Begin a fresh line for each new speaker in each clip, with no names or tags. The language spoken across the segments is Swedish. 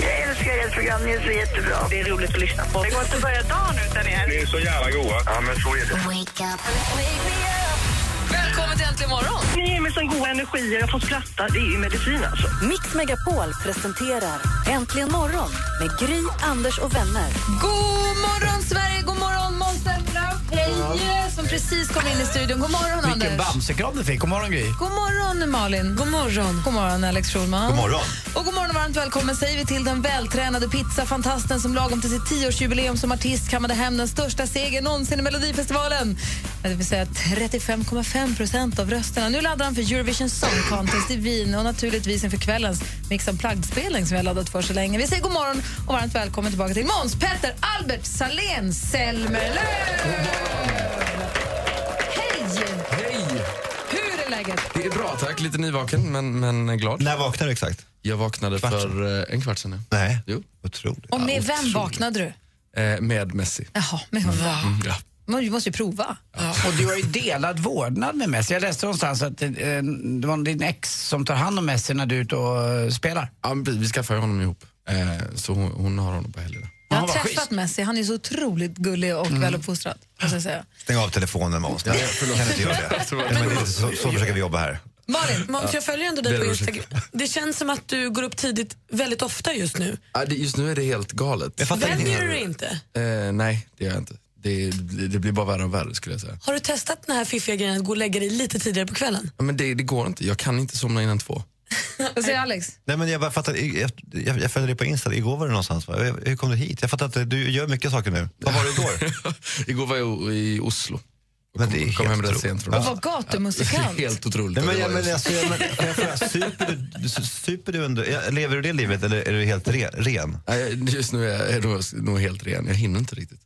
Jag älskar ert program, ni är så jättebra. Det är roligt att lyssna på. Det går inte att börja dagen utan er.
Ni är så jävla goa. Ja, men så är det.
Välkommen till Äntligen morgon!
Ni ger mig sån god energi, jag får skratta. Det är ju medicin alltså.
Mix Megapol presenterar Äntligen morgon med Gry, Anders och vänner.
God morgon, Sverige! God morgon, Måns Zelmerlöw! Hej! Som precis kom in i studion. God morgon,
Vilken
Anders!
Bamsekram du fick. God morgon, Gry.
God morgon, Malin! God morgon, God morgon Alex Schulman!
God morgon.
Och god morgon och varmt välkommen säger vi till den vältränade pizzafantasten som lagom till sitt 10-årsjubileum som artist kammade hem den största segern någonsin i Melodifestivalen. Det vill säga 35,5 procent av rösterna. Nu laddar han för Eurovision Song Contest i Wien och naturligtvis inför kvällens Mix Unplugged-spelning som vi har laddat för så länge. Vi säger god morgon och varmt välkommen tillbaka till Måns Petter Albert Salén Selmerlöw! Hej!
Hej!
Hur är läget?
Det är bra tack, lite nyvaken men, men glad.
När vaknade du exakt?
Jag vaknade
Kvart sedan.
för eh, en kvart sedan. ja.
Nej.
Jo.
Otroligt.
Och med
Ja,
vem
otroligt.
vaknade du?
Eh, med Messi.
Jaha, med honom.
Mm, ja.
Man måste ju prova.
Ja, och du har ju delad vårdnad med Messi. Jag läste någonstans att eh, det var din ex som tar hand om Messi när du är ute och eh, spelar.
Ja, men vi, vi skaffade honom ihop, eh, så hon, hon har honom på helgerna.
Jag har
vad
träffat
schysst.
Messi, han är så otroligt gullig och väluppfostrad. måste jag säga.
Stäng av telefonen med oss. Kan du inte göra det?
Förlåt.
Nej, men det är så, så försöker vi jobba här.
Malin,
Måns, jag följer ändå
det
dig på
är
Instagram. Det känns som att du går upp tidigt väldigt ofta just nu.
Ah, det, just nu är det helt galet.
Jag fattar
Vänjer
ingenting.
du dig inte?
Eh, nej, det gör jag inte. Det, det det blir bara värre och värre skulle jag säga.
Har du testat den här fiffiga grejen att gå och lägga dig lite tidigare på kvällen?
Ja, men det, det går inte, jag kan inte somna innan två.
Vad säger Alex?
Nej, men jag, bara fattar, jag, jag, jag följer dig på Insta, igår var du någonstans va? Hur- Hur kom du hit? Jag fattar inte, du gör mycket saker nu. Vad var det igår?
Igår var jag i Oslo.
Men det är
Kom hem
helt
rätt
otroligt.
sent från
Och var gatumusikant.
Helt otroligt.
Nej, men,
Det
jag,
var
men,
ju-
alltså, jag, men, får jag fråga, super, du- du, super du under, ja, lever du det livet eller är du helt re, ren?
Nej, Just nu är jag nog, nog helt ren, jag hinner inte riktigt.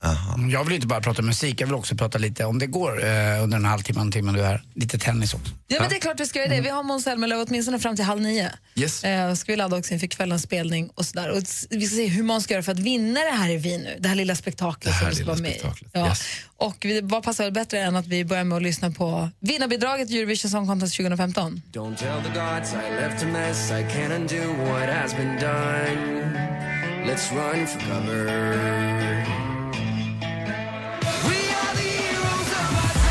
Jag vill inte bara prata musik, jag vill också prata lite, om det går, eh, under den halvtimme, en timme du är här, lite tennis också.
Ja, men det är klart vi ska göra det. Vi har Måns Zelmerlöw åtminstone fram till halv nio.
Yes.
Eh, ska vi ladda också inför kvällens spelning och sådär. Och s- vi ska se hur man ska göra för att vinna det här i Wien nu. Det här lilla spektaklet
Det här
som vi ska
lilla
vara med i.
spektaklet,
Ja.
yes.
Och vi, vad passar väl bättre än att vi börjar med att lyssna på vinnarbidraget i Eurovision Song Contest 2015?
Don't tell the gods I left a mess I can't undo what has been done Let's run for cover We are the heroes of our time.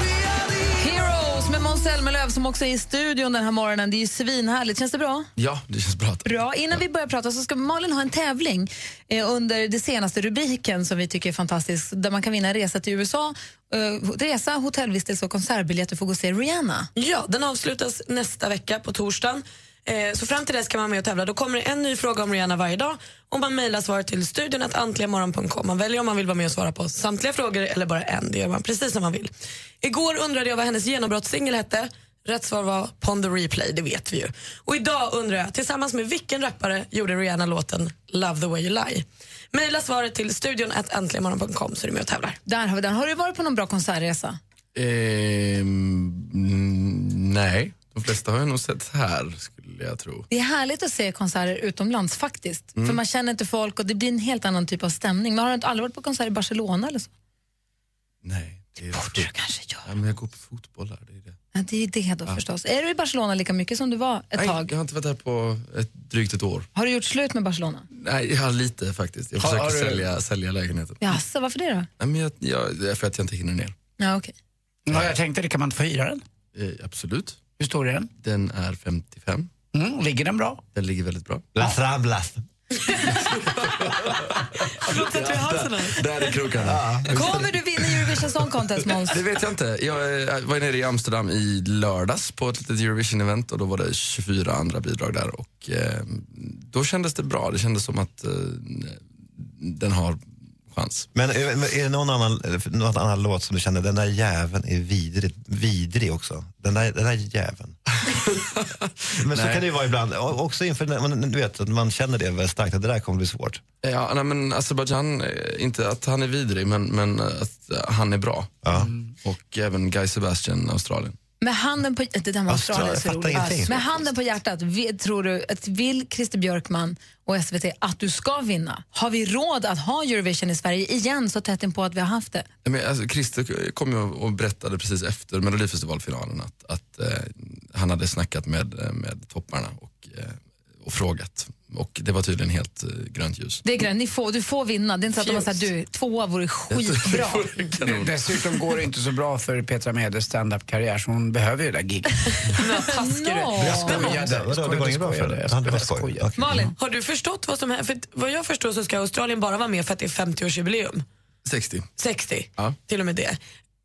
We are the
Heroes med Måns Zelmerlöw som också är i studion den här morgonen. Det är ju svinhärligt. Känns det bra?
Ja, det känns bra. tack.
Bra. Innan vi börjar prata så ska Malin ha en tävling eh, under det senaste rubriken som vi tycker är fantastisk, där man kan vinna en resa till USA, eh, resa, hotellvistelse och konsertbiljetter för att gå och se Rihanna.
Ja, den avslutas nästa vecka på torsdagen. Eh, Så fram till dess kan man vara med och tävla. Då kommer det en ny fråga om Rihanna varje dag och man mejlar svaret till studion antligamorgon.com. Man väljer om man vill vara med och svara på samtliga frågor eller bara en. Det gör man precis som man vill. Igår undrade jag vad hennes genombrottssingel hette. Rätt svar var Pon the replay, det vet vi ju. Och idag undrar jag, tillsammans med vilken rappare gjorde Rihanna låten Love the way you lie? Mejla svaret till studion antligamorgon.com så är du med och tävlar.
Där har vi den. Har du varit på någon bra konsertresa?
Ehm, mm, nej, de flesta har jag nog sett här skulle jag tro.
Det är härligt att se konserter utomlands faktiskt, för man känner inte folk och det blir en helt annan typ av stämning. Men har du inte aldrig varit på konsert i Barcelona eller så?
Nej, det är
Borde du kanske göra.
Ja, men jag går på fotboll här. Det är det.
Ja, det är ju det då förstås. Är du i Barcelona lika mycket som du var ett
Nej,
tag?
jag har inte varit här på ett, drygt ett år.
Har du gjort slut med Barcelona?
Nej, ja, lite faktiskt. Jag
Har-
försöker
har du-
sälja, sälja lägenheten.
Jaså, varför det då?
Nej, men jag, jag, det är för att jag inte hinner ner.
Ja, okej.
Ja, jag tänkte, det kan man inte få hyra den?
Eh, absolut.
Hur stor är den?
Den är 55.
Mm, ligger den bra?
Den ligger väldigt bra.
Las Ramblas.
Förlåt att vi har sådana.
Där är krokarna.
Kommer du vinna Eurovision Song Contest, Måns?
Det vet jag inte. Jag eh, var nere i Amsterdam i lördags på ett litet Eurovision-event och då var det 24 andra bidrag där och eh, då kändes det bra. Det kändes som att eh, den har chans.
Men är, men är det någon annan, någon annan låt som du känner, den där jäveln är vidrig, vidrig också? Den där, den där jäveln. Men så
Nej.
kan det ju vara ibland. O- Också inför, när man, du vet, att man känner det väldigt starkt, att det där kommer bli svårt.
Ja, nej, men Azerbaijan, eh, inte att han är vidrig, men, men att eh, han är bra. Mm. Och även Guy Sebastian, Australien.
Med handen på, det där med Australien är så
jag fattar
roligt.
ingenting.
Med handen på hjärtat, vi, tror du att vill Christer Björkman och SVT att du ska vinna? Har vi råd att ha Eurovision i Sverige igen så tätt på att vi har haft det?
Nej, Men, alltså, Christer kom ju och berättade precis efter Melodifestivalfinalen att, att eh, han hade snackat med, eh, med topparna och, eh, och frågat. Och det var tydligen helt eh, grönt ljus.
Det är grejen, ni får, du får vinna. Det är inte så att de har sagt du, tvåa vore skitbra.
Det- Dessutom går det inte så bra för Petra Medes standup-karriär så hon behöver ju det där giget.
no.
Jag skojade.
Vadå, det går inget bra för det? Ja, det var skoj. Okej.
Malin?
Har du förstått vad som händer? För att vad jag förstår så ska Australien bara vara med för att det är 50-årsjubileum.
60.
60,
Ja.
till och med det.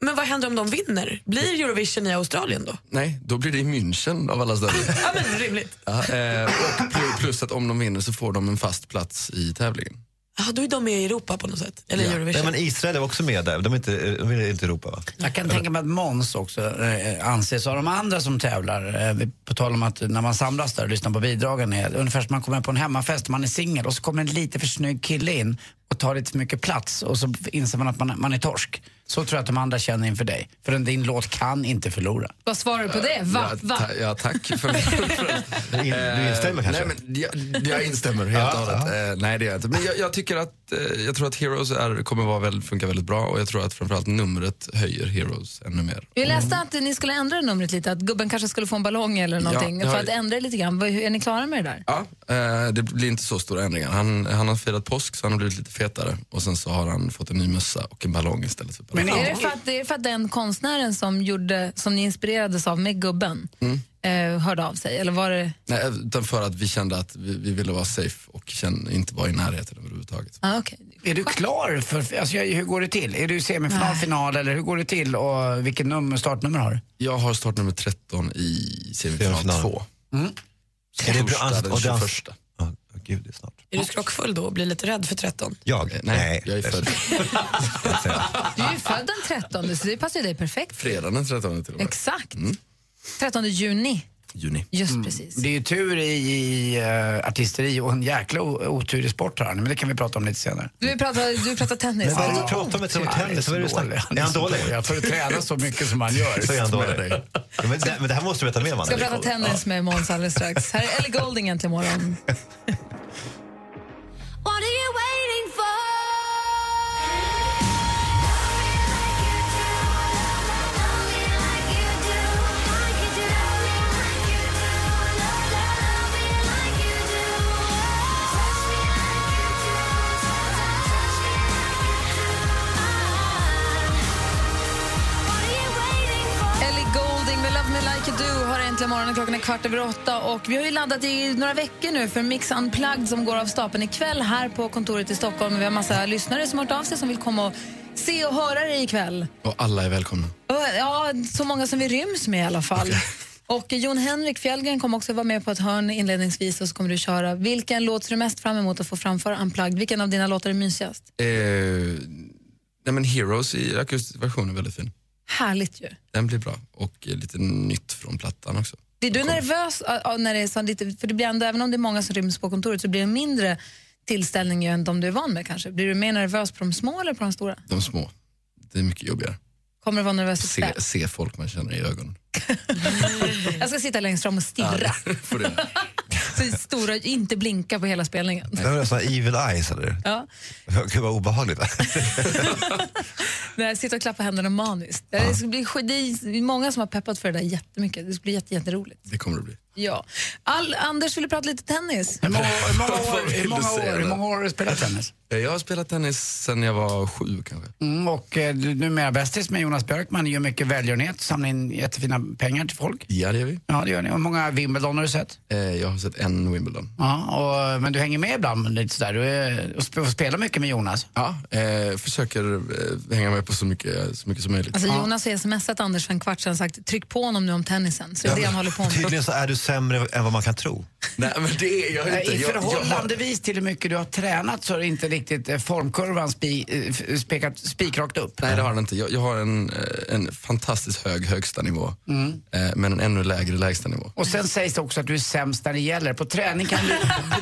Men vad händer om de vinner? Blir Eurovision i Australien då?
Nej, då blir det i München av alla ställen.
Ja, men rimligt.
Ja, eh, och pl- plus att om de vinner så får de en fast plats i tävlingen.
Ja, då är de med i Europa på något sätt. Eller
Ja.
Eurovision.
Nej, men Israel är också med där. De är inte, de är inte i Europa, va?
Jag kan tänka mig att Måns också eh, anses av de andra som tävlar. Eh, vi- På tal om att när man samlas där och lyssnar på bidragen, är det ungefär som man kommer på en hemmafest, man är singel och så kommer en lite för snygg kille in och tar lite för mycket plats och så inser man att man, man är torsk. Så tror jag att de andra känner inför dig. För den, din låt kan inte förlora.
Vad svarar du på det? Va?
Ja,
Va?
ta-
Ja, tack för Du
instämmer kanske?
Eh, Nej, men jag, jag instämmer helt och hållet. Eh, nej, det gör jag inte. Men jag, jag tycker att, eh, jag tror att Heroes är, kommer vara väl, funka väldigt bra och jag tror att framförallt numret höjer Heroes ännu mer.
Vi läste att ni skulle ändra numret lite, att gubben kanske skulle få en ballong eller
Mm. Ja,
någonting
ja.
för att ändra det lite grann. Vad- hur- Är ni klara med det där?
Ja, eh, det blir inte så stora ändringar. Han, han har firat påsk så han har blivit lite fetare och sen så har han fått en ny mössa och en ballong istället för ballong.
är, det för att, är det för att den konstnären som, gjorde, som ni inspirerades av med gubben Mm. eh, hörde av sig? Eller var det...
Nej, utan för att vi kände att vi, vi ville vara safe och känn, inte vara i närheten överhuvudtaget.
Ah, okay.
Är du klar? För, alltså, jag- hur går det till? Är du semifinal,
Nej.
final eller hur går det till? Och vilket nummer, startnummer har du?
Jag har startnummer 13 i semifinal
Semifinal.
2.
Mm.
Är det bra- Torsdag den
och det är-
21.
Gud, det är snart.
Är du skrockfull då och blir lite rädd för 13?
Jag? Nej,
Eh, jag är född
Du är ju född den 13, så det passar ju dig perfekt.
fredagen den 13 till och med.
Exakt.
Mm.
13 juni.
Juni.
Just precis.
Mm. Det är ju tur i, i eh, artisteri och en jäkla o- otur i sport här, men det kan vi prata om lite senare.
Du pratar, du pratar tennis.
Men vad är det
Ja.
du pratar om? Ett sånt här- Tennis, vad är det du snackar om?
Är han dålig?
Jag får träna så mycket som han gör.
Så är han dålig. Ja, men, det, men det här måste du veta mer om.
Ska
Anna.
prata tennis med Måns alldeles strax. Här är Ellie Golding äntligen morgon.
What are you waiting for?
Ellie Golding med Love Me Like You Do har äntligen morgonen. Klockan är kvart över åtta. Och vi har ju laddat i några veckor nu för Mix Unplugged som går av stapeln ikväll här på kontoret i Stockholm. Vi har massa lyssnare som har hört av sig som vill komma och se och höra dig ikväll.
Och alla är välkomna.
Och, Ja, så många som vi ryms med i alla fall. Och Jon Henrik Fjällgren kommer också vara med på ett hörn inledningsvis och så kommer du köra. Vilken låt ser du mest fram emot att få framföra Unplugged? Vilken av dina låtar är mysigast?
Eh, nej men Heroes i akustisk version är väldigt fin.
Härligt ju.
Den blir bra. Och eh, lite nytt från plattan också.
Blir du nervös ah, ah, när det är så lite, för det blir ändå, även om det är många som ryms på kontoret så blir det mindre tillställning ju än de du är van med kanske? Blir du mer nervös på de små eller på de stora?
De små. Det är mycket jobbigare.
Kommer du vara nervös på
Se,
spel?
se folk man känner i ögonen.
Jag ska sitta längst fram och stirra. så stora, inte blinka på hela spelningen.
Det var såna evil eyes, eller?
Ja.
Gud, vad obehagligt.
Nej, sitta och klappa händerna maniskt. Det, ska bli, skit- det är många som har peppat för det där jättemycket. Det ska bli jätte, jätteroligt.
Det kommer det bli.
Ja. All, Anders ville prata lite tennis.
Hur många, hur många,
Vad
år,
vill
hur många,
du säga
år, hur
där?
många år har du spelat tennis?
Eh, Jag har spelat tennis sen jag var sju kanske.
Mm, och eh, du är numera bästis med Jonas Björkman, gör mycket välgörenhet, samlar in jättefina pengar till folk.
Ja, det gör vi.
Ja, det gör ni. Och Hur många Wimbledon har du sett?
Eh, Jag har sett en Wimbledon.
Ja, och, men du hänger med ibland lite sådär. Du är, och sp- och spelar mycket med Jonas.
Ja, eh, försöker eh, hänga med på så mycket, så mycket som möjligt.
Alltså Jonas har smsat Anders för en kvart sedan och sagt tryck på honom nu om tennisen. Så det är det han håller på med.
Tydligen så är du sämre än vad man kan tro.
Nej, men det är jag inte.
I
Jag- jag har-
förhållandevis till hur mycket du har tränat så har inte riktigt eh, formkurvan spi, eh, f- spekat, spikrakt upp.
Nej, det har den inte. Jag, jag har en, eh, en fantastiskt hög högsta nivå Mm. eh, men en ännu lägre lägsta nivå.
Och sen sägs det också att du är sämst när det gäller. På träning kan du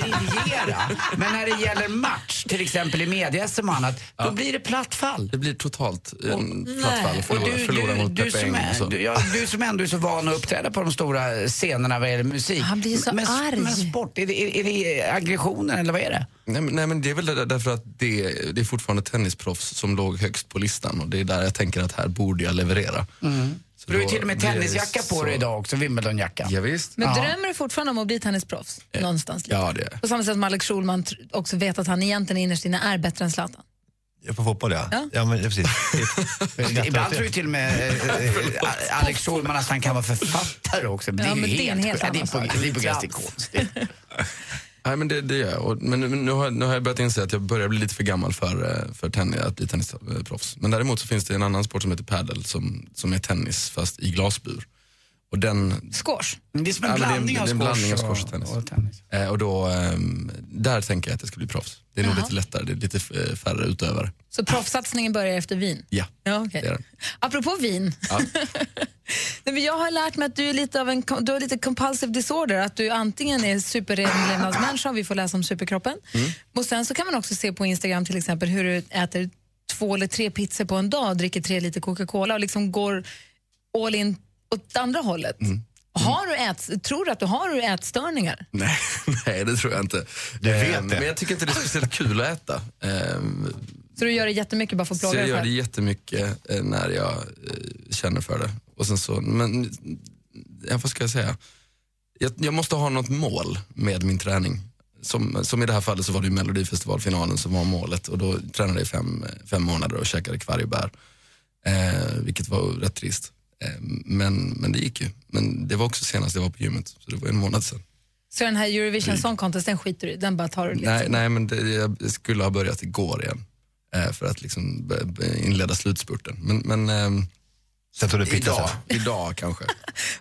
briljera, men när det gäller match, till exempel i media-SM och annat, då blir det platt fall.
Det blir totalt en
Nej.
platt fall. Förlora,
Och du-
förlora
du-
mot
du
Peppe
som
Eng
är-
och så. Ah,
du- ja, Du som ändå är så van att uppträda på de stora scenerna vad gäller musik. Han
blir så
men,
arg.
Men sport, är det, är det aggressionen eller vad är det?
Nej, men- nej, men det är väl där- därför att det, det är fortfarande tennisproffs som låg högst på listan och det är där jag tänker att här borde jag leverera. Så
Du har ju
då
till och med
blir det
tennisjacka på
så-
dig idag också, Wimbledonjacka.
Ja, visst.
Men drömmer du fortfarande om att bli tennisproffs?
Eh,
Någonstans.
Ja, det är
På samma sätt som Alex Schulman tr- också vet att han egentligen innerst inne är bättre än Zlatan.
Ja, På fotboll, ja.
Ja.
Ja, men, ja precis.
Ibland tror jag till och med eh, eh, Alex Schulman att han kan vara författare också.
Ja, men det är en
sjukt.
helt
Ja,
annan
Det är på-
sak.
det är på gränsen till konst.
Nej, men det, det gör jag. Och, men nu, nu, har, nu har jag börjat inse att jag börjar bli lite för gammal för, eh, för tennis, att bli tennisproffs. Men däremot så finns det en annan sport som heter padel som, som är tennis fast i glasbur. Och den,
Squash.
Det är som en
Ja, men det är en-
blandning av
det är en blandning av squash
squash
och tennis.
och tennis.
eh, och då, ehm, där tänker jag att jag ska bli proffs. Det är nog
Jaha.
lite lättare, det är lite eh, färre utövare.
Så proffssatsningen börjar efter vin?
Ja,
Ja, okej.
det
Eh.
är den.
Apropå vin.
Ja.
Nej, men jag har lärt mig att du är lite av en kom- du har lite compulsive disorder. Att du antingen är superlevnadsmänniska, vi får läsa om superkroppen.
Mm.
Och sen så kan man också se på Instagram till exempel hur du äter två eller tre pizzor på en dag och dricker tre liter Coca-Cola och liksom går all in åt andra hållet.
Mm.
Har du ät, tror du att du har ätstörningar?
Nej, nej, det tror jag inte. Du
vet det.
Men jag tycker inte det är speciellt kul att äta. Ehm,
Så du gör det jättemycket bara för att
Så
plåga
jag
dig
gör det
själv?
jättemycket eh, när jag eh, känner för det. Och sen så, men, ja, vad ska jag säga? Jag, jag måste ha något mål med min träning. Som, som i det här fallet så var det ju Melodifestivalfinalen som var målet och då tränade jag i fem, fem månader och käkade kvargbär. Eh, vilket var rätt trist. Eh, men, men det gick ju. Men det var också senast jag var på gymmet, så det var en månad sedan.
Så den här Eurovision Song Contest, den skiter du i? Den bara tar du liksom?
Mm. Nej, nej men det, jag skulle ha börjat igår igen eh, för att liksom b- b- inleda slutspurten. Men, men ehm,
sen tog du
pizza
idag, idag kanske.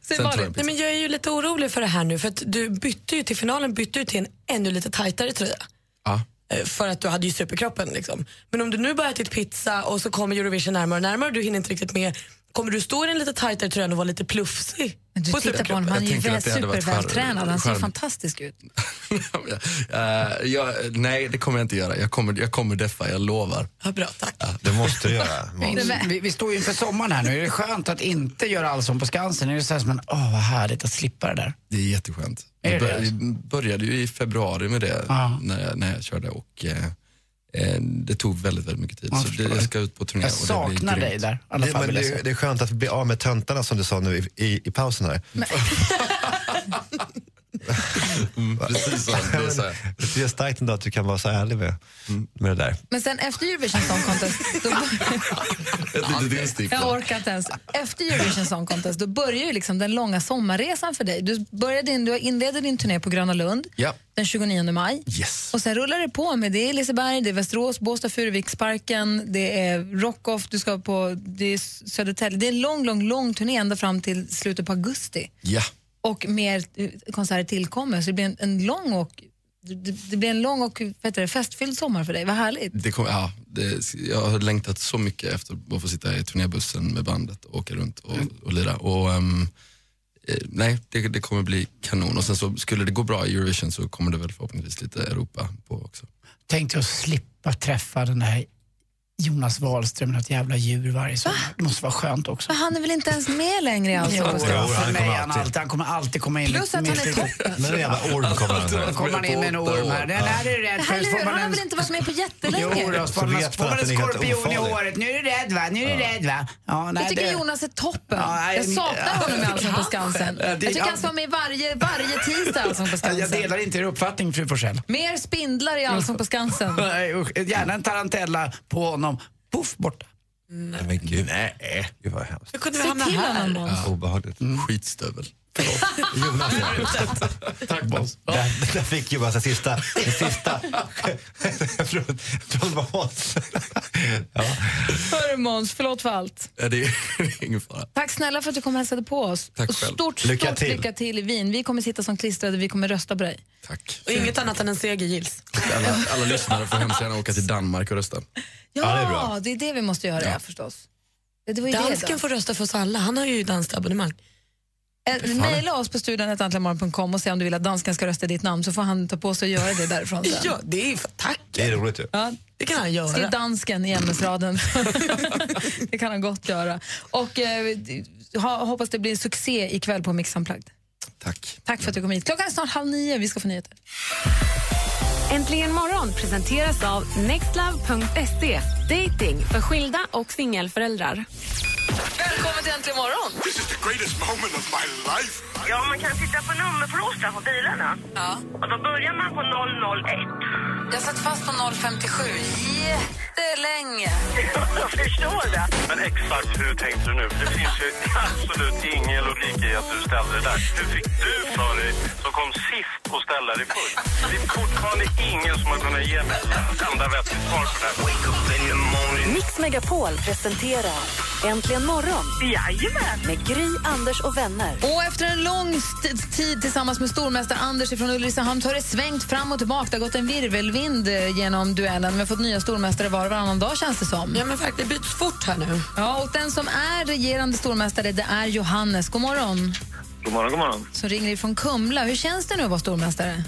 Sen tar jag en
Nej, men jag är ju lite orolig för det här nu för att du bytte ju till finalen bytte ju till en ännu lite tajtare tröja.
Ja.
Eh, För att du hade ju superkroppen liksom. Men om du nu bara ätit pizza och så kommer Eurovision närmare och närmare och du hinner inte riktigt med. Kommer du stå i den lite tajtare tröjan och vara lite plufsig?
Men du tittar på honom, han är ju
Jag tänker
väl
att det hade varit
supervältränad. Han ser
charm.
fantastisk ut.
Eh, jag, nej, det kommer jag inte göra. Jag kommer, jag kommer deffa, jag lovar.
Ja, bra, tack.
det måste du göra.
Vi, vi står ju inför sommaren här nu. Är det skönt att inte göra Allsång på Skansen? Är det så här som en, åh vad härligt att slippa det där?
Det är jätteskönt.
Är
Jag
det
bör,
det?
vi började ju i februari med det när, jag, när jag körde och eh, eh, det tog väldigt, väldigt mycket tid.
Ja,
Så det, jag ska ut på turné.
Jag
och det blir
saknar dig
grymt.
där, i alla
det,
fall
men
vill jag säga.
det, det är skönt att bli av med töntarna som du sa nu i, i, i pausen här.
Mm, precis så. Det är så här. Mm.
Det är starkt ändå att du kan vara så ärlig med, med det där.
Men sen efter Eurovision Song Contest, då,
Ett litet instick.
jag orkar inte ens. Efter Eurovision Song Contest, då börjar ju liksom den långa sommarresan för dig. Du, börjar din, du inleder din turné på Gröna Lund
Ja.
den 29 maj.
Yes.
Och sen rullar det på med det är Liseberg, det är Västerås, Båstad, Furuviksparken, det är Rockoff, du ska på det är Södertälje. Det är en lång, lång, lång turné ända fram till slutet på augusti.
Ja.
och mer eh, konserter tillkommer. Så det blir en, en lång och det, det blir en lång och vad heter det, festfylld sommar för dig. Vad härligt.
Det kom, ja, det, jag har längtat så mycket efter att få sitta i turnébussen med bandet och åka runt och, och lira. Och, ehm, eh, nej, det, det kommer bli kanon. Och sen så skulle det gå bra i Eurovision så kommer det väl förhoppningsvis lite Europa på också.
Tänk dig att slippa träffa den där Jonas Wahlström, något jävla djur varje sommar. Det måste vara skönt också.
För han är väl inte ens med längre i
Jo,
Allsång alltså på
för
Skansen?
mig är han alltid. Han kommer alltid komma in.
Plus att han är toppen.
Men en jävla orm kommer han
Då
här.
kommer han in med en orm här. Den här är du rädd för. Så
Eller
får
hur?
man
Han har
en,
väl inte varit med på
jo,
jättelänge?
då, så får man,
vet
får
man
man en
att den är helt
skorpion i
ofarlig.
håret. Nu är du rädd va? Nu är du rädd va? Ja, nej,
Jag tycker
det-
Jonas är toppen.
Ja, nej,
Jag saknar honom i
ja,
Allsång på Skansen.
ja, det-
Jag tycker han ska vara med varje, varje tisdag i Allsång alltså på
Jag
Skansen.
delar inte er uppfattning fru Forsell.
Mer spindlar i Allsång på Skansen.
Nej, usch. Gärna en tarantella på honom. Poff, borta.
Nej. Men gud, nej. Gud vad hemskt.
Hur kunde vi
Se
hamna
till
här?
honom, Måns.
Obehagligt.
Mm.
Mm.
Skitstövel.
Jonas. Tack Måns. Där, där fick Jonas den sista... Den sista. Jag trodde jag trodde det var Måns.
Hörru Måns, förlåt för allt.
Ja, det är det är ingen fara.
Tack snälla för att du kom och hälsade på oss.
Tack
och
själv.
stort,
Lycka
stort
till.
lycka till i Wien. Vi kommer sitta som klistrade, vi kommer rösta på dig.
Och inget annat än en seger gills.
Alla, alla lyssnare får hemskt gärna åka till Danmark och rösta.
Ja,
Ja, det
det,
är
är
bra.
det vi måste göra
Ja.
förstås. Ja, Det var ju det
Dansken
då.
får rösta för oss alla. Han har ju danskt abonnemang.
Eh, Mejla oss på studionetantlamorgon.com och se om du vill att dansken ska rösta i ditt namn så får han ta på sig att göra det därifrån sen.
Ja, det är ju för tack.
Det är roligt ju.
Ja.
Det kan han göra.
Skriv dansken i ämnesraden. det kan han gott göra. Och eh, ha, hoppas det blir succé ikväll på Mix Unplugged.
Tack.
Tack för att du kom hit. Klockan är snart halv nio, vi ska få nyheter.
Äntligen morgon presenteras av nextlove.se. Dating för skilda och singelföräldrar.
Välkommen till Äntligen morgon!
This is the greatest moment of my life.
Ja, man kan titta på nummerplåtar på bilarna.
Ja.
Och då börjar man på 001.
Jag satt fast på 057 jättelänge.
Jag förstår det.
Men exakt hur tänkte du nu? För Det finns ju absolut ingen logik i att du ställde det där. Hur fick du för dig som kom sist och ställa dig först? Det är fortfarande ingen som har kunnat ge mig ett enda vettigt svar på det här. Wake up in the morning.
Mix Megapol presenterar Äntligen morgon med Gry, Anders och vänner.
Och efter en lång st- tid tillsammans med stormästare Anders från Ulricehamn så har det svängt fram och tillbaka. Det har gått en virvelvind eh, genom duellen. Vi har fått nya stormästare var och varannan dag känns det som.
Ja, men faktiskt, det byts fort här nu.
Ja, och den som är regerande stormästare det är Johannes. God morgon.
God morgon, god morgon.
Som ringer ifrån Kumla. Hur känns det nu att vara stormästare?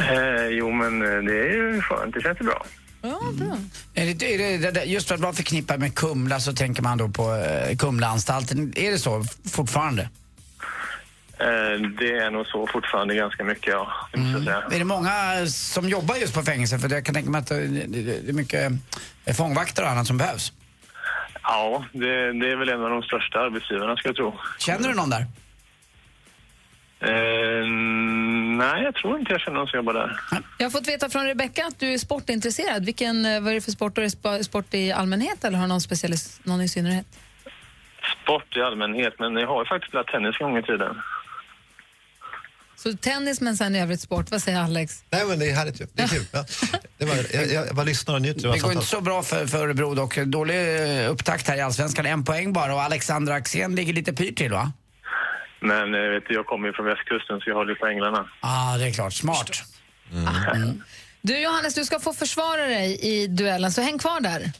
Eh, jo, men eh, det är ju skönt. Det känns ju bra.
Mm.
Är det, är det- det, det, just för att man förknippar med Kumla så tänker man då på eh, Kumlaanstalten. Är det så f- fortfarande?
Eh, det är nog så fortfarande ganska mycket, ja. Det måste jag säga.
Är det många eh, som jobbar just på fängelse? För jag kan tänka mig att eh, det, det det är mycket eh, fångvakter och annat som behövs.
Ja, det, det är väl en av de största arbetsgivarna, ska jag tro.
Känner du någon där?
Eh, nej, jag tror inte jag känner någon som jobbar där.
Jag har fått veta från Rebecka att du är sportintresserad. Vilken, eh, vad är det för sport? Är det spa- sport i allmänhet eller har du någon speciell, någon i synnerhet?
Sport i allmänhet, men jag har ju faktiskt spelat tennis en gång i tiden.
Så tennis men sen i övrigt sport. Vad säger Alex?
Nej, men det är härligt ju. Det är kul. Ja. Det var, jag, jag bara lyssnar och njuter.
Det går inte så bra för, för Örebro dock. Dålig eh, upptakt här i Allsvenskan. En poäng bara och Alexander Axén ligger lite pyrt till va?
Men eh, vet du, jag kommer ju från västkusten, så jag håller ju på änglarna.
Ja, ah, det är klart. Smart. Mm.
Ah.
Du Johannes, du ska få försvara dig i duellen, så häng kvar där.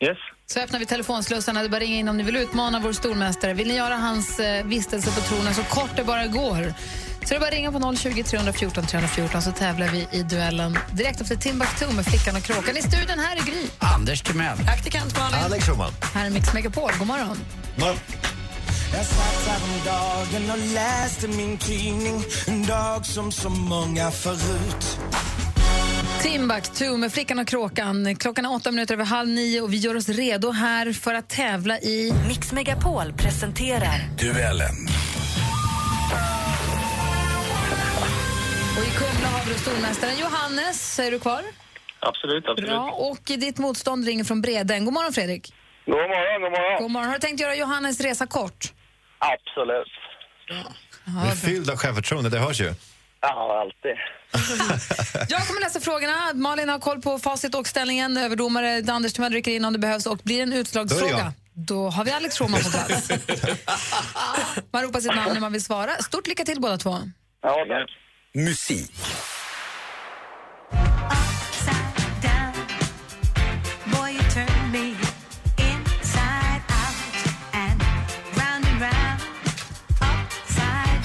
Yes.
Så öppnar vi telefonslussarna. Det är bara att ringa in om ni vill utmana vår stormästare. Vill ni göra hans eh, vistelse på tronen så kort det bara går? Så det är bara att ringa på 020 314 314 så tävlar vi i duellen direkt efter Timbuktu med Flickan och Kråkan. I studion här är Gry.
Anders Timell.
Praktikant Malin.
Alex Schulman.
Här är Mix Megapol. God morgon.
Jag svartar om dagen och läste min tidning En dag som så många förut
Timbuktu med Flickan och Kråkan. Klockan är åtta minuter över halv nio och vi gör oss redo här för att tävla i...
Mix Megapol presenterar
Duellen.
Och i Kumla har vi då stormästaren Johannes. Är du kvar?
Absolut, absolut.
Bra. Och ditt motstånd ringer från Bredäng. God morgon, Fredrik.
God morgon, god morgon.
God morgon. Har du tänkt göra Johannes resa kort?
Absolut.
Du är fylld av självförtroende, det hörs ju.
Ja, alltid.
Jag kommer läsa frågorna. Malin har koll på facit och ställningen. Överdomare Anders Timell rycker in om det behövs och blir det en
Då är det
utslagsfråga.
jag.
Då har vi Alex Schulman på plats. Man ropar sitt namn när man vill svara. Stort lycka till båda två.
Ja, tack.
Musik.
Boy, you turn me inside out and round and round.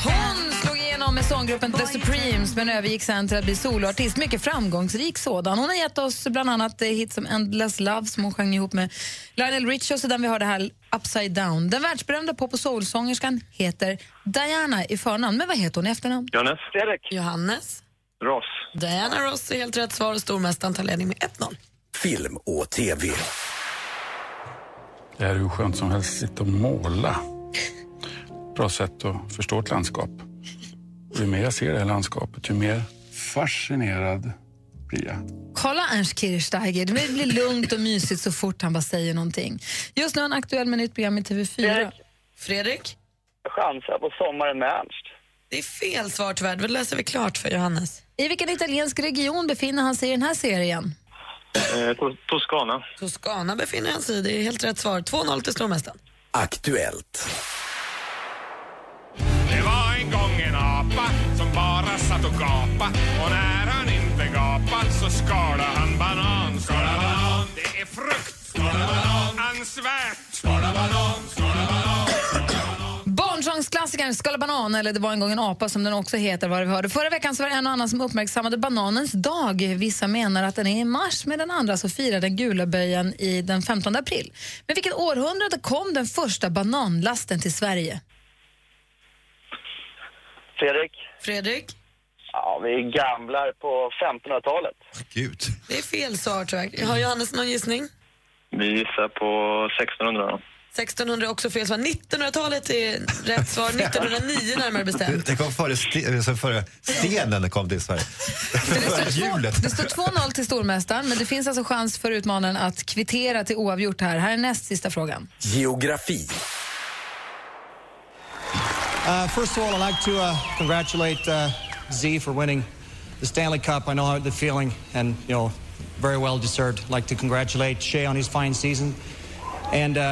Hon slog igenom med sånggruppen The Supremes men övergick sen till att bli soloartist. Mycket framgångsrik sådan. Hon har gett oss bland annat eh, hits som Endless Love som hon sjöng ihop med Lionel Richie och så den vi hörde här, Upside Down. Den världsberömda pop och soulsångerskan heter Diana i förnamn. Men vad heter hon i efternamn?
Jonas. Erik.
Johannes.
Ross.
Diana Ross är helt rätt svar och stormästaren tar ledning med 1-0.
Film och TV.
Det här är hur skönt som helst, sitta och måla. Bra sätt att förstå ett landskap. Och ju mer jag ser det här landskapet, ju mer fascinerad blir jag.
Kolla Ernst Kirchsteiger. Det blir lugnt och mysigt så fort han bara säger någonting. Just nu är han aktuell med ett nytt program i TV4.
Fredrik?
Chansar på sommaren med Ernst.
Det är fel svar tyvärr. Då läser vi klart för Johannes.
I vilken italiensk region befinner han sig i den här serien?
Eh, to- Toscana.
Toscana befinner han sig i. Det är helt rätt svar. 2-0 till stormästaren.
Aktuellt.
Det var en gång en apa som bara satt och gapa Och när han inte gapade så skala han banan Skala banan, det är frukt Skala banan, ansvärt Skala banan, skala banan
Barnsångsklassikern Skala banan, eller Det var en gång en apa som den också heter, var det vi hörde. Förra veckan så var det en och annan som uppmärksammade bananens dag. Vissa menar att den är i mars medan andra så firar den gula böjen i den 15 april. Men vilket århundrade kom den första bananlasten till Sverige?
Fredrik?
Fredrik?
Ja, vi gamlar på 1500-talet.
Gud.
Det är fel svar tyvärr. Har Johannes någon gissning?
Vi gissar på 1600. då.
1600 är också fel svar. 1900-talet är rätt svar. 1909 närmare bestämt.
Det kom före, ste- alltså före stenen kom till Sverige. före hjulet.
Det står 2-0 till stormästaren, men det finns alltså chans för utmanaren att kvittera till oavgjort här. Här är näst sista frågan.
Geografi.
Uh, first of all, I'd like to uh, congratulate uh, Z for winning the Stanley Cup. I know how the feeling, and you know, very well deserved. I'd like to congratulate Shea on his fine season, and uh,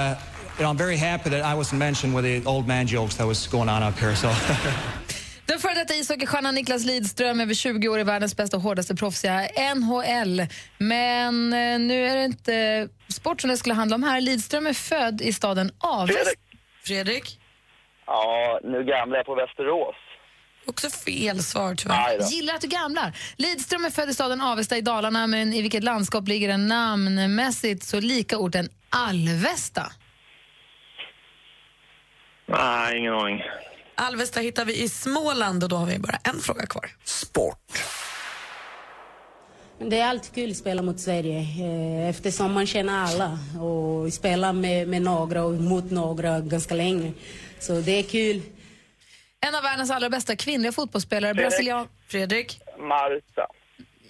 you know, I'm very happy that I wasn't mentioned with the old man jokes that was going on up here. So.
Den före detta ishockeystjärnan Niklas Lidström, över 20 år i världens bästa och hårdaste proffsiga NHL. Men eh, nu är det inte sport som det skulle handla om här. Lidström är född i staden Avesta.
Fredrik?
Ja, nu gamlar jag på Västerås.
Också fel svar
Aj då.
Gillar att du gamlar. Lidström är född i staden Avesta i Dalarna, men i vilket landskap ligger den namnmässigt så lika orten Alvesta?
Nej, ingen aning.
Alvesta hittar vi i Småland och då har vi bara en fråga kvar.
Det är alltid kul att spela mot Sverige eh, eftersom man känner alla och spelar med, med några och mot några ganska länge. Så det är kul.
En av världens allra bästa kvinnliga fotbollsspelare,
Fredrik.
brasilian...
Fredrik?
Marta.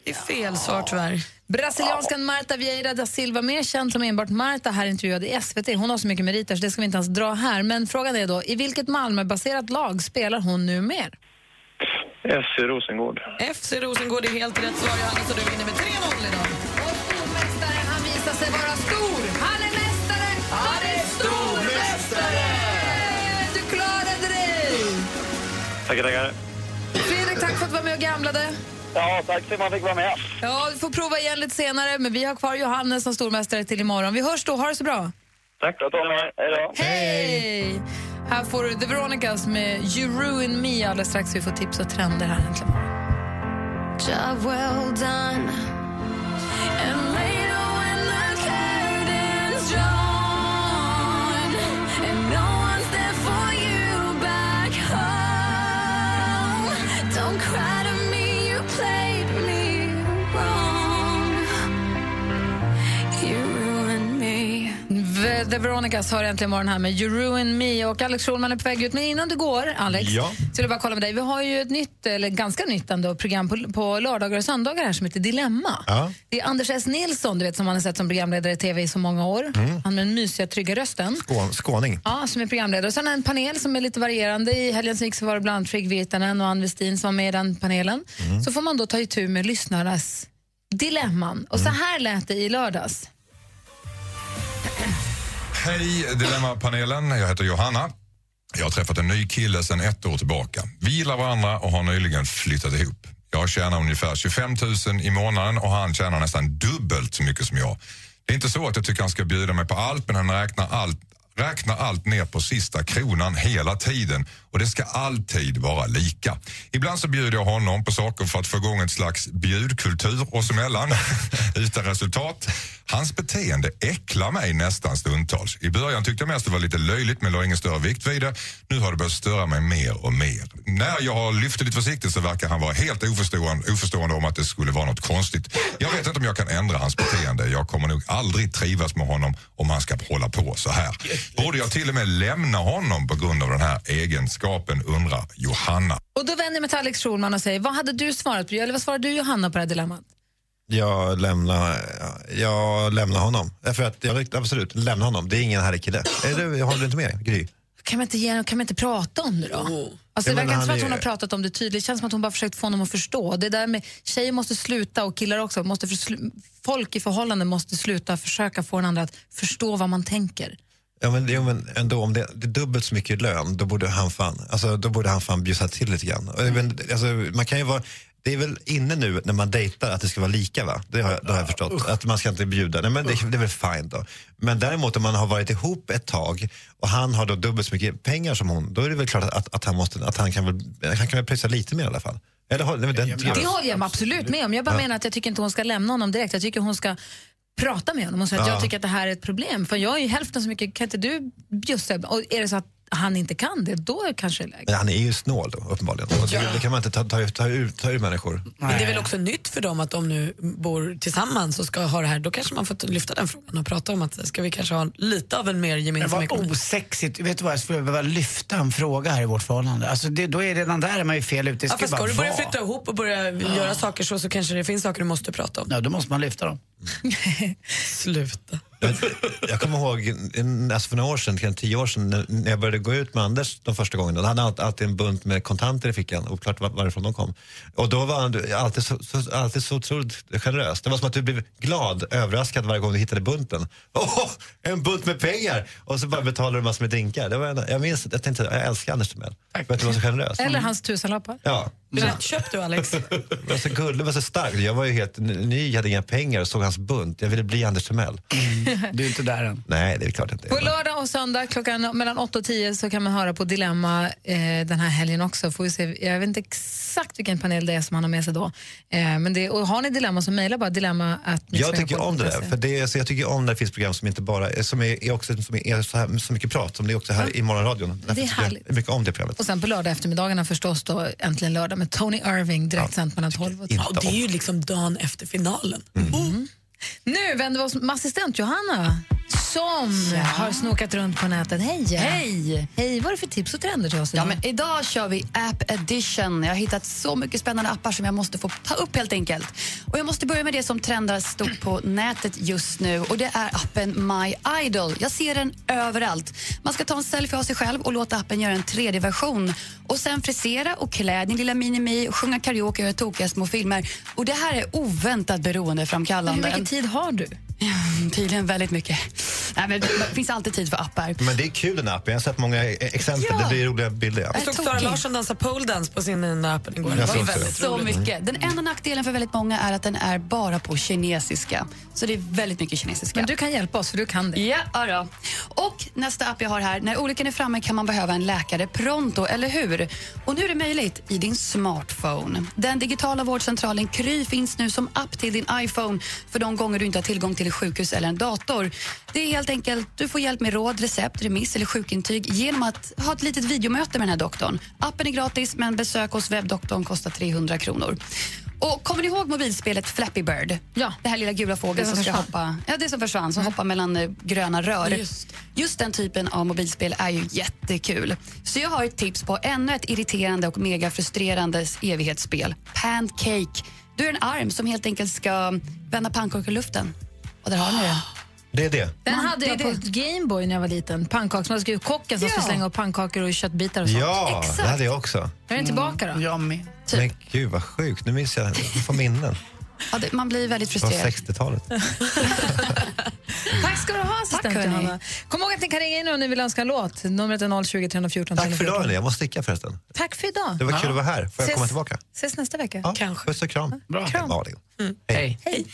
Det är fel svar tyvärr.
Brasilianskan Marta Vieira da Silva, mer känd som enbart Marta, här intervjuad i SVT. Hon har så mycket meriter så det ska vi inte ens dra här. Men frågan är då, i vilket Malmöbaserat lag spelar hon nu mer?
FC Rosengård.
FC Rosengård är helt rätt svar Johannes och du vinner med 3-0 idag.
Stormästaren, han visar sig vara stor. Han är mästare! Han är stormästare! Du klarade dig!
Tackar, tackar.
Fredrik, tack för att du var med och gamlade.
Ja, tack för att man fick vara med.
Ja, du får prova igen lite senare, men vi har kvar Johannes som stormästare till imorgon. Vi hörs då, ha det så bra.
Tack. Då tar vi Hej då.
Hej! Här får du The Veronicas med You Ruin Me alldeles strax. Vi får tips och trender här äntligen.
Job well done. And later when the curtain's drawn and no one's there for you back home, don't cry to me. You played me wrong. You ruined me.
V- The Veronicas hör äntligen morgon här med You Ruin Me och Alex Schulman är på väg ut. Men innan du går, Alex,
Ja.
så vill jag bara kolla med dig. Vi har ju ett nytt, eller ganska nytt ändå, program på, på lördagar och söndagar här som heter Dilemma.
Ja.
Det är Anders S. Nilsson, du vet, som man har sett som programledare i TV i så många år.
Mm.
Han med den mysiga, trygga rösten.
Skån, skåning.
Ja, som är programledare. Och sen en panel som är lite varierande. I helgen som gick så var det bland annat Fredrik Virtanen och Ann Westin som var med i den panelen. Så får man då ta itu med lyssnarnas dilemman. Och så här lät det i lördags.
Hej Dilemmapanelen, jag heter Johanna. Jag har träffat en ny kille sedan ett år tillbaka. Vi gillar varandra och har nyligen flyttat ihop. Jag tjänar ungefär 25 000 i månaden och han tjänar nästan dubbelt så mycket som jag. Det är inte så att jag tycker han ska bjuda mig på allt men han räknar allt, räknar allt ner på sista kronan hela tiden och det ska alltid vara lika. Ibland så bjuder jag honom på saker för att få igång ett slags bjudkultur oss emellan utan resultat. Hans beteende äcklar mig nästan stundtals. I början tyckte jag mest det var lite löjligt men la ingen större vikt vid det. Nu har det börjat störa mig mer och mer. När jag har lyft det lite försiktigt så verkar han vara helt oförstående, oförstående om att det skulle vara något konstigt. Jag vet inte om jag kan ändra hans beteende. Jag kommer nog aldrig trivas med honom om han ska hålla på så här. Borde jag till och med lämna honom på grund av den här egenskapen undrar Johanna.
Och då vänder jag mig till Alex Schulman och säger, vad hade du svarat på? Eller vad svarade du Johanna på det här dilemmat?
Jag lämnar, jag lämnar honom. Eh, För att jag, absolut, lämna honom. Det är ingen härlig kille. Är du, har du inte med Gry?
Kan man inte, ge, kan man inte prata om det då? Alltså, det
Ja, men
verkar inte
han
som att hon
är-
har pratat om det tydligt. Det känns som att hon bara försökt få honom att förstå. Det där med tjejer måste sluta och killar också. Måste förslu- folk i förhållanden måste sluta försöka få den andra att förstå vad man tänker.
Ja, men, jo, men ändå, om det, det är dubbelt så mycket lön, då borde han fan, alltså, då borde han fan bjussa till lite grann. Och, Men, alltså, man kan ju vara, det är väl inne nu när man dejtar att det ska vara lika, va? Det har, jag- det har jag förstått. Att man ska inte bjuda. Nej, men det, det är väl fine då. Men däremot om man har varit ihop ett tag och han har då dubbelt så mycket pengar som hon, då är det väl klart att, att, han, måste, att han kan väl, han kan väl pröjsa lite mer i alla fall. Eller, har- nej, men den,
Det håller jag mig absolut med om. Jag bara
Ja.
menar att jag tycker inte hon ska lämna honom direkt. Jag tycker hon ska prata med honom och säga att
Ja.
jag tycker att det här är ett problem. För jag är ju hälften så mycket, kan inte du bjussa? Och är det så att han inte kan det, då är det kanske läge.
Men han är ju snål då, uppenbarligen. Och det, det kan man inte ta, ta, ta, ur, ta ur människor.
Men det är väl också nytt för dem att de nu bor tillsammans och ska ha det här. Då kanske man får lyfta den frågan och prata om att ska vi kanske ha lite av en mer
Men
gemensam
vad
ekonomi.
osexigt. Vet du vad, jag skulle behöva lyfta en fråga här i vårt förhållande. Alltså det, då är redan där är man ju fel ute. Det
Ja,
ska,
för ska
bara
du börja
vara.
flytta ihop och börja göra saker så, så kanske det finns saker du måste prata om.
Ja, då måste man lyfta dem.
Sluta.
Jag kommer ihåg, en- alltså för några år sedan, kanske tio år sedan, när- när jag började gå ut med Anders de första gångerna. Då hade han alltid- alltid en bunt med kontanter i fickan, oklart var- varifrån de kom. Och då var han alltid så, så, alltid så otroligt generös. Det var som att du blev glad, överraskad varje gång du hittade bunten. Åh, en bunt med pengar! Och så bara betalade du massor med drinkar. Det var, en- jag minns, jag tänkte, jag älskar Anders Timell. För att du var så generös.
Eller hans tusenlappar.
Ja.
Köp du Alex.
Du var så gullig, du var så stark. Jag var ju helt ny, jag hade inga pengar och såg hans bunt. Jag ville bli Anders Timell.
Du är inte där än.
Nej, det är klart inte.
På lördag och söndag klockan mellan 8 och 10 så kan man höra på Dilemma eh, den här helgen också. Får vi se. Jag vet inte exakt vilken panel det är som han har med sig då. Eh, men det, och har ni dilemma så mejla bara dilemma att
Jag tycker om det där. För det, är- så jag tycker om när det finns program som inte bara är- som är, är också, som är så, här, så mycket prat som det är också här i morgonradion. Därför tycker jag
härligt.
mycket om det programmet.
Och sen på lördag eftermiddagarna förstås då Äntligen lördag med Tony Irving direkt sänt mellan 12 och 12.
inte Ja, det är om.
ju liksom dagen efter finalen.
Mm.
Nu vänder vi oss med assistent Johanna som har snokat runt på nätet. Hej!
Hej!
Hej, vad är det för tips och trender till oss
Ja,
idag?
men idag kör vi App Edition. Jag har hittat så mycket spännande appar som jag måste få ta upp helt enkelt. Och jag måste börja med det som trendar stort på nätet just nu och det är appen My Idol. Jag ser den överallt. Man ska ta en selfie av sig själv och låta appen göra en 3D-version och sen frisera och klä din lilla mini-mi, sjunga karaoke och göra tokiga små filmer. Och det här är oväntat beroendeframkallande.
Hur mycket tid har du?
Tydligen väldigt mycket. Nej, men det finns alltid tid för appar.
Men det är kul den här appen. Jag har sett många eh, exempel.
Ja.
Det blir roliga bilder. ja.
Jag såg Sara Larsson dansa pole dance på sin nya appen igår.
Jag
Det var
såg
ju
också
väldigt
så
roligt.
mycket. Den enda nackdelen för väldigt många är att den är bara på kinesiska. Så det är väldigt mycket kinesiska. Men
du kan hjälpa oss, för du kan det.
Ja, ja då. Och nästa app jag har här. När olyckan är framme kan man behöva en läkare pronto, eller hur? Och nu är det möjligt i din smartphone. Den digitala vårdcentralen Kry finns nu som app till din iPhone för de gånger du inte har tillgång till ett sjukhus eller en dator. Det är helt enkelt, du får hjälp med råd, recept, remiss eller sjukintyg genom att ha ett litet videomöte med den här doktorn. Appen är gratis, men besök hos webbdoktorn kostar 300 kronor. Och Kommer ni ihåg mobilspelet Flappy Bird? Ja. Det här lilla gula fågeln
Det
som
som
ska
försvann.
hoppa. Ja, det som försvann, som
Mm.
hoppar mellan eh, gröna rör. Just. den typen av mobilspel är ju jättekul. Så jag har ett tips på ännu ett irriterande och mega frustrerande evighetsspel. Pancake. Du är en arm som helt enkelt ska vända pannkakor i luften. Och där har ni den.
Det är det.
Den
Man,
hade
det
jag
är
på
det.
Gameboy när jag var liten. Pannkaks, man skulle, kocken som
Ja.
skulle slänga upp pannkakor och köttbitar och sånt.
Ja,
Exakt.
det hade jag också. Mm.
Är den tillbaka då?
Jag med.
Men gud vad sjukt. Nu minns jag. Jag får minnen.
Ja, det, man blir väldigt
Från
frustrerad.
60-talet.
Tack ska du ha, assistent
hörni.
Johanna. Kom ihåg att ni kan ringa in om ni vill önska en låt. Numret är 020 314
Tack för
314.
idag hörni. Jag måste sticka förresten.
Tack för idag.
Det var kul att vara här. Får jag
Ses-
komma tillbaka?
Ses nästa vecka.
Kanske.
Puss och kram. Mm.
Bra.
Malin.
Hej.
Hej.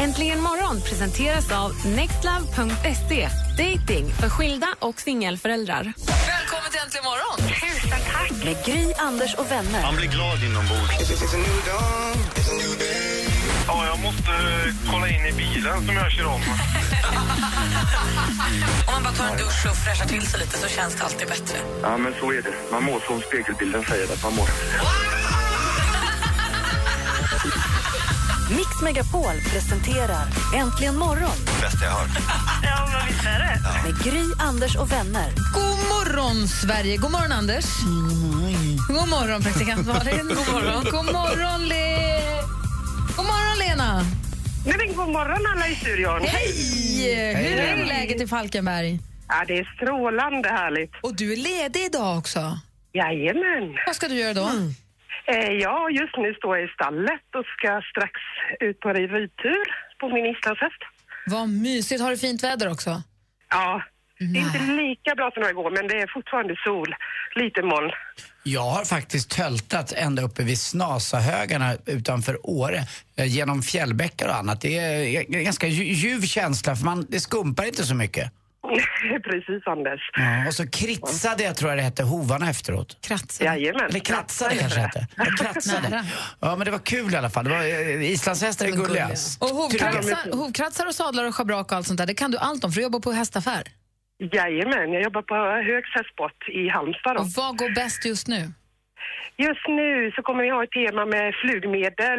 Äntligen morgon presenteras av nextlove.se. Dating för skilda och singelföräldrar.
Välkommen till Äntligen morgon. Tusen tack.
Med Gry, Anders och vänner.
Han blir glad inombords. Ja, jag måste eh, kolla in i bilen som jag kör om.
Om man bara tar en dusch och fräschar till sig lite så känns det alltid bättre.
Ja, men så är det. Man mår som spegelbilden säger att man mår.
Mix Megapol presenterar Äntligen morgon
Bästa jag har hört.
Ja, men visst är det. med Gry, Anders och vänner.
God morgon, Sverige. God morgon, Anders. God morgon, praktikant Malin. God morgon, God morgon Leo. God morgon,
god morgon alla i studion.
Hej! Hur är det läget i Falkenberg?
Ja, det är strålande härligt.
Och du är ledig idag också?
Jajamän.
Vad ska du göra då?
Eh, ja, just nu står jag i stallet och ska strax ut på en ridtur på min islandshäst.
Vad mysigt. Har du fint väder också?
Ja, det är inte lika bra som det var igår, men det är fortfarande sol, lite moln.
Jag har faktiskt töltat ända uppe vid Snasahögarna utanför Åre, eh, genom fjällbäckar och annat. Det är eh, en ganska lju- ljuv känsla för man, det skumpar inte så mycket.
Precis, Anders.
Ja, och så kritsade jag, tror jag det hette, hovarna efteråt.
Kratsa.
Jajamän.
Eller kratsade kanske hette. Jag kratsade. Ja, men det var kul i alla fall. Det var, eh, islandshästar är gulliga.
Och
Tycker
hovkratsar,
jag.
hovkratsar och sadlar och schabrak och allt sånt där, det kan du allt om för du jobbar på hästaffär.
Jajamän, jag jobbar på Högs hästsport i Halmstad. Då.
Och vad går bäst just nu?
Just nu så kommer vi ha ett tema med flugmedel,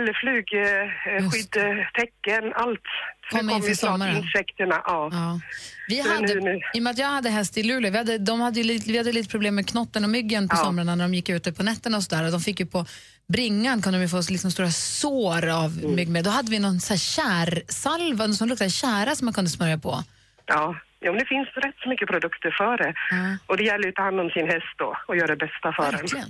flugskydd, tecken, allt. Så
Kommer inför
vi snart
sommaren.
Insekterna, ja.
Vi
Så det är
hade,
nu- nu.
I och med att jag hade häst i Luleå, vi hade, de hade ju lite, vi hade lite problem med knotten och myggen på somrarna när de gick ute på nätterna och sådär. Och De fick ju på bringan kunde de ju få liksom stora sår av
Mm.
myggmedel. Då hade vi någon så här kärsalva någon som luktade kära som man kunde smörja på.
Ja. Jo, men det finns rätt så mycket produkter för det. Och det gäller ju att ta hand om sin häst då och göra det bästa för den.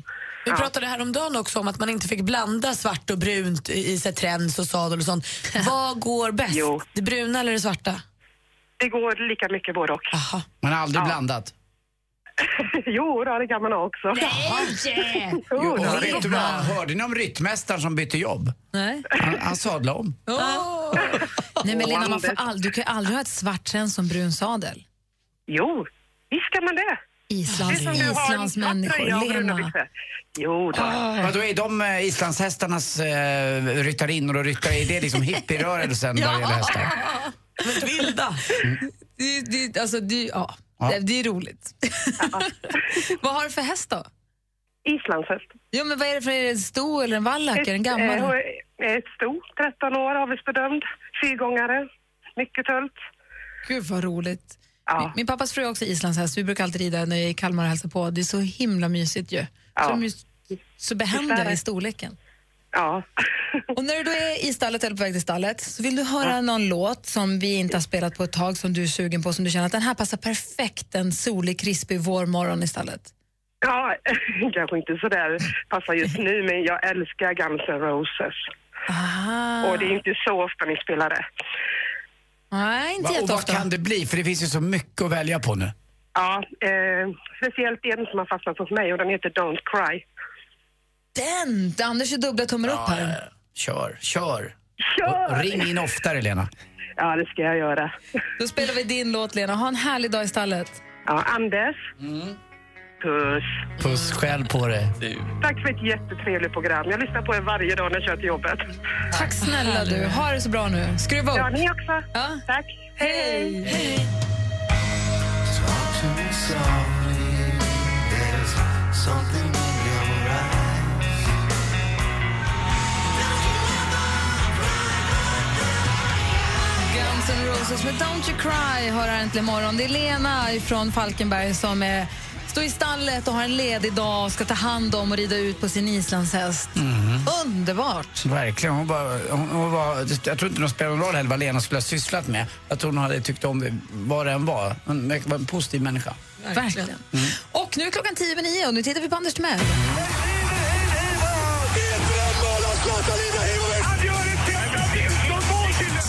Vi pratade häromdagen också om att man inte fick blanda svart och brunt i, i så här, träns och sadel och sånt. Vad går bäst? Det bruna eller det svarta?
Det går lika mycket både och.
Man har aldrig blandat.
jo, då, det kan man ha också.
Nej!
Jo,
det
och
är
rytm, hörde ni om ryttmästaren som bytte jobb?
Nej.
Han, han sadlade om.
Ah. Nej men
Åh,
Lena, man får
Anders.
all, du kan ju aldrig ha ett svart träns som brun sadel.
Jo, visst kan man det.
Islands,
Det är som du har en svart tröja och
Islandsmänniskor,
bruna
Lena.
Jo, då.
Vadå, är de eh, islandshästarnas eh, ryttarinnor och ryttare, är det liksom hippierörelsen vad gäller hästar?
Vilda!
Det, det, alltså, det, ja. Det, det är roligt. vad har du för häst då?
Islandshäst.
Ja, men vad är det för är det en stor eller en vallack? Är den
Eh, och
gammal?
Ett stort, 13 år avelsbedömd, fyrgångare, mycket tölt.
Gud vad roligt. Min, min pappas fru är också islandshäst. Vi brukar alltid rida när jag är i Kalmar och hälsar på. Det är så himla mysigt ju.
Ja.
Så, de är ju så
Visst är
behändiga
det.
i storleken.
Ja.
och när du då är i stallet eller på väg till stallet så vill du höra någon låt som vi inte har spelat på ett tag som du är sugen på som du känner att den här passar perfekt en solig, krispig vårmorgon i stallet.
Ja, kanske inte så där passar just nu, men jag älskar Guns N' Roses. Och det är inte så ofta ni spelar det.
Nej,
inte
Va, och vad
jätteofta.
kan det bli? För det finns ju så mycket att välja på nu.
Ja, eh, speciellt en som har fastnat hos mig och den heter Don't Cry.
Den! Anders är dubbla tummar upp här.
Kör, kör.
Kör!
Och, och ring in oftare, Lena.
Ja, det ska jag göra.
Då spelar vi din låt, Lena. Ha en härlig dag i stallet.
Ja, Anders. Puss.
Mm. Puss själv på dig.
Tack för ett jättetrevligt program. Jag lyssnar på er varje dag när jag kör till jobbet.
Tack snälla du. Ha det så bra nu. Skruva upp.
Ja, ni också. Tack. Hej!
Guns N' Roses med Don't You Cry hör här äntligen morgon. Det är Lena från Falkenberg som är, står i stallet och har en ledig dag och ska ta hand om och rida ut på sin islandshäst.
Mm.
Mm.
Underbart!
Verkligen. Hon var, hon, hon var, jag tror inte det spelar någon roll heller vad Lena skulle ha sysslat med. Jag tror hon hade tyckt om vad det än var. Hon verkar vara en positiv människa.
Verkligen. Och nu är klockan tio över nio och nu tittar vi på Anders Timell.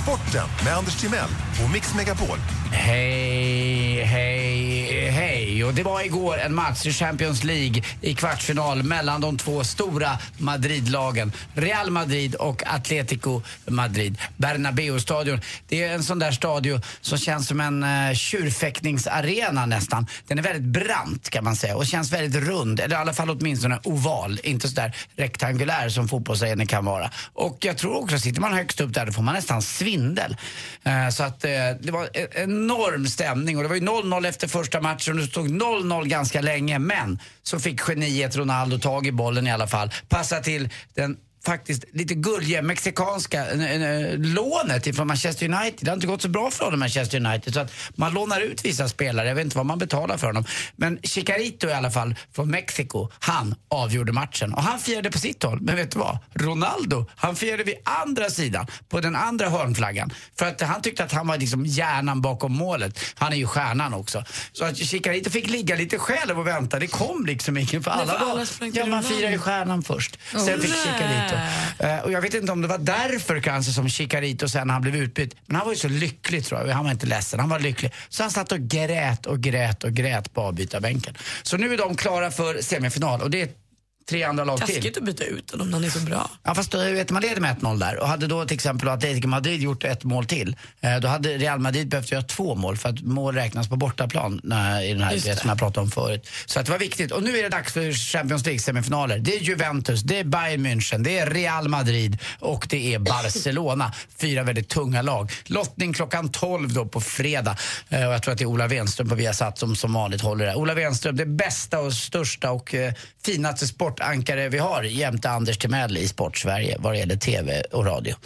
Sporten med Anders Timell och Mix Megapol.
Hej, hej, hej. Och det var igår en match i Champions League i kvartsfinal mellan de två stora Madridlagen. Real Madrid och Atletico Madrid. Bernabeu-stadion. Det är en sån där stadion som känns som en eh, tjurfäktningsarena nästan. Den är väldigt brant kan man säga och känns väldigt rund, eller i alla fall åtminstone oval. Inte så där rektangulär som fotbollsarenor kan vara. Och jag tror också, sitter man högst upp där då får man nästan svindel. Eh, Så att eh, det var en enorm stämning och det var ju 0-0 efter första matchen och det stod 0-0 ganska länge. Men så fick geniet Ronaldo tag i bollen i alla fall, passa till den faktiskt lite gulliga mexikanska eh, eh, lånet ifrån Manchester United. Det har inte gått så bra för honom i Manchester United så att man lånar ut vissa spelare. Jag vet inte vad man betalar för honom. Men Chicharito i alla fall från Mexiko, han avgjorde matchen. Och han firade på sitt håll. Men vet du vad? Ronaldo, han firade vid andra sidan, på den andra hörnflaggan. För att han tyckte att han var liksom hjärnan bakom målet. Han är ju stjärnan också. Så att Chicharito fick ligga lite själv och vänta. Det kom liksom ingen för
Men
alla
för
var...
alla sprang till
Ja, man
Ronaldo.
firar ju stjärnan först.
Oh,
Sen fick
nej.
Chicharito. Eh, och jag vet inte om det var därför kanske som Chicharito sen när han blev utbytt. Men han var ju så lycklig tror jag. Han var inte ledsen, han var lycklig. Så han satt och grät och grät och grät på avbytarbänken. Så nu är de klara för semifinal och det är tre andra lag till.
Taskigt att byta ut honom när han är så bra.
Ja fast då vet man leder med 1-0 där och hade då till exempel Atletico Madrid gjort ett mål till eh, då hade Real Madrid behövt göra två mål för att mål räknas på bortaplan när, i den här
Just
det som jag pratade om förut. Så att det var viktigt och nu är det dags för Champions League semifinaler. Det är Juventus, det är Bayern München, det är Real Madrid och det är Barcelona. Fyra väldigt tunga lag. Lottning klockan 12 då på fredag eh, och jag tror att det är Ola Wenström på Viasat som som vanligt håller det. Ola Wenström, det bästa och största och eh, finaste sportankare vi har jämte Anders Timell i Sportsverige vad det gäller TV och radio.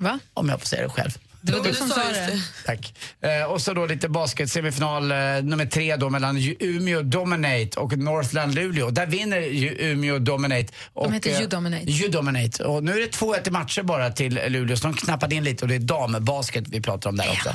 Va?
Om jag får säga det själv.
Det var du som sa det.
Tack. Eh, och så då lite basket, semifinal eh, nummer tre då mellan Ju- Umeå Dominate och Northland Luleå. Där vinner Ju- Umeå Dominate. Och,
De heter
eh,
You Dominate.
You Dominate. Och nu är det 2-1 i matcher bara till Luleå, så de knappade in lite och det är dambasket vi pratar om där också.